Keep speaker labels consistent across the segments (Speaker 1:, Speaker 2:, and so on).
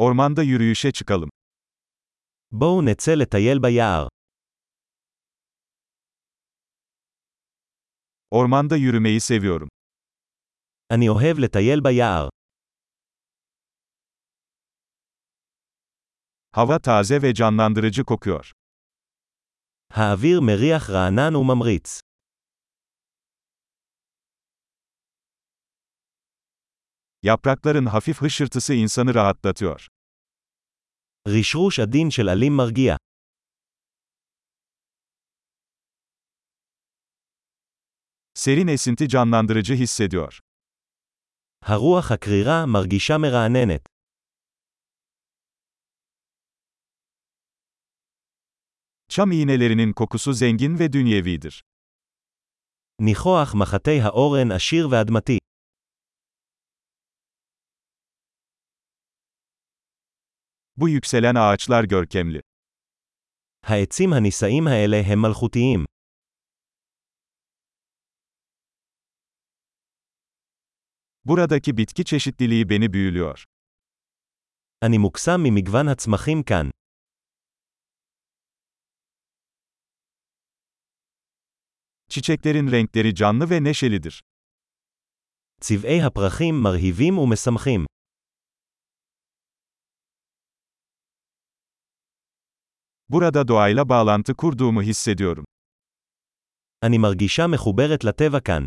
Speaker 1: Ormanda yürüyüşe çıkalım.
Speaker 2: בואו נצא לטייל ביער.
Speaker 1: Ormanda yürümeyi seviyorum.
Speaker 2: אני אוהב לטייל ביער.
Speaker 1: Hava taze ve canlandırıcı kokuyor.
Speaker 2: האוויר מריח רענן וממריץ.
Speaker 1: Yaprakların hafif hışırtısı insanı rahatlatıyor.
Speaker 2: רשרוש עדין של עלים מרגיע.
Speaker 1: Serin esinti canlandırıcı hissediyor.
Speaker 2: הרוח הקרירה מרגישה מרעננת.
Speaker 1: Çam iğnelerinin kokusu zengin ve dünyevidir.
Speaker 2: ניחוח מחטי האורן עשיר ואדמתי.
Speaker 1: Bu yükselen ağaçlar görkemli.
Speaker 2: העצים הנישאים האלה הם מלכותיים.
Speaker 1: Buradaki bitki çeşitliliği beni büyülüyor.
Speaker 2: אני מוקסם ממגוון הצמחים כאן.
Speaker 1: Çiçeklerin renkleri canlı ve neşelidir.
Speaker 2: צבעי הפרחים מרהיבים ומשמחים.
Speaker 1: Burada doğayla bağlantı kurduğumu hissediyorum.
Speaker 2: אני מרגישה מחוברת לטבע כאן.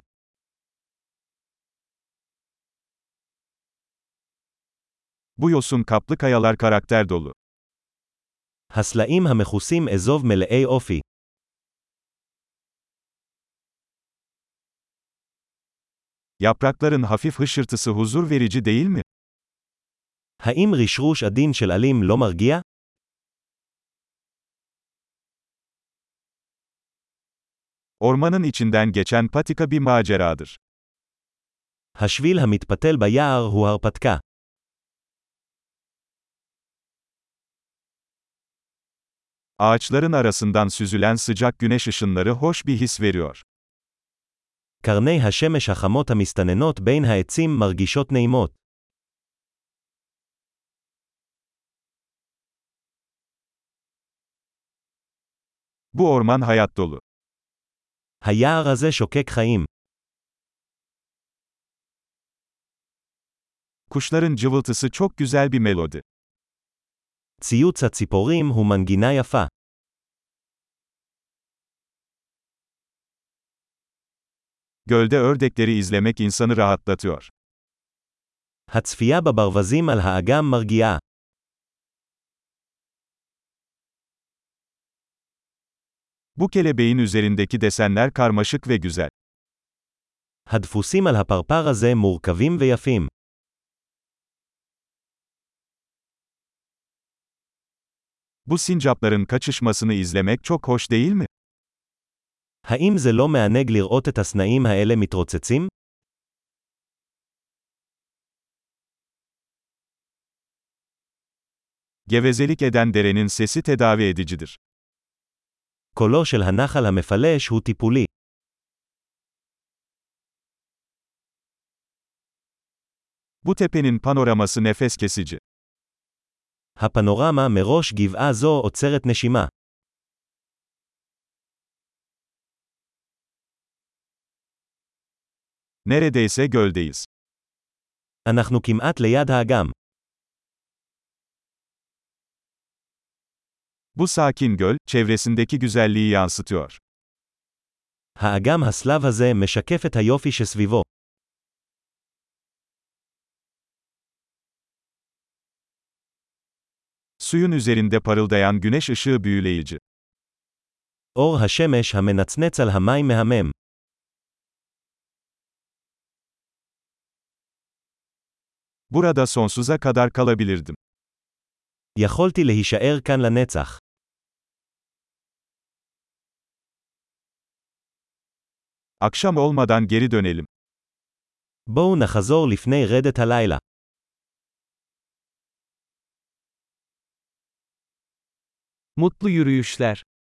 Speaker 1: Bu yosun kaplı kayalar karakter dolu.
Speaker 2: הסלעים המכוסים אזוב מלאי אופי.
Speaker 1: Yaprakların hafif hışırtısı huzur verici değil mi?
Speaker 2: האם רשרוש עדין של עלים לא מרגיע?
Speaker 1: Ormanın içinden geçen patika bir maceradır.
Speaker 2: השביל המתפתל ביער הוא הרפתקה.
Speaker 1: Ağaçların arasından süzülen sıcak güneş ışınları hoş bir his veriyor.
Speaker 2: קרני השמש החמות המסתננות בין העצים מרגישות נעימות.
Speaker 1: Bu orman hayat dolu.
Speaker 2: היער הזה שוקק חיים.
Speaker 1: Kuşların cıvıltısı çok güzel bir melodi.
Speaker 2: ציוץ הציפורים הוא מנגינה יפה.
Speaker 1: Gölde ördekleri izlemek insanı rahatlatıyor.
Speaker 2: הצפייה בברווזים על האגם מרגיעה.
Speaker 1: Bu kelebeğin üzerindeki desenler karmaşık ve güzel.
Speaker 2: הדפוסים על הפרפר הזה מורכבים ויפים.
Speaker 1: Bu sincapların kaçışmasını izlemek çok hoş değil mi?
Speaker 2: האם זה לא מענג לראות את הסנאים האלה מתרוצצים?
Speaker 1: Gevezelik eden derenin sesi tedavi edicidir.
Speaker 2: קולו של הנחל המפלש הוא טיפולי.
Speaker 1: Bu tepenin panoraması nefes kesici.
Speaker 2: הפנורמה מראש גבעה זו עוצרת נשימה.
Speaker 1: Neredeyse göldeyiz.
Speaker 2: אנחנו כמעט ליד האגם.
Speaker 1: Bu sakin göl, çevresindeki güzelliği yansıtıyor.
Speaker 2: האגם הסלב הזה משקף את היופי שסביבו.
Speaker 1: Suyun üzerinde parıldayan güneş ışığı büyüleyici.
Speaker 2: אור השמש המנצנץ על המים מהמם.
Speaker 1: Burada sonsuza kadar kalabilirdim.
Speaker 2: יכולתי להישאר כאן לנצח.
Speaker 1: Akşam olmadan geri dönelim.
Speaker 2: בואו נחזור לפני רדת הלילה.
Speaker 3: Mutlu yürüyüşler.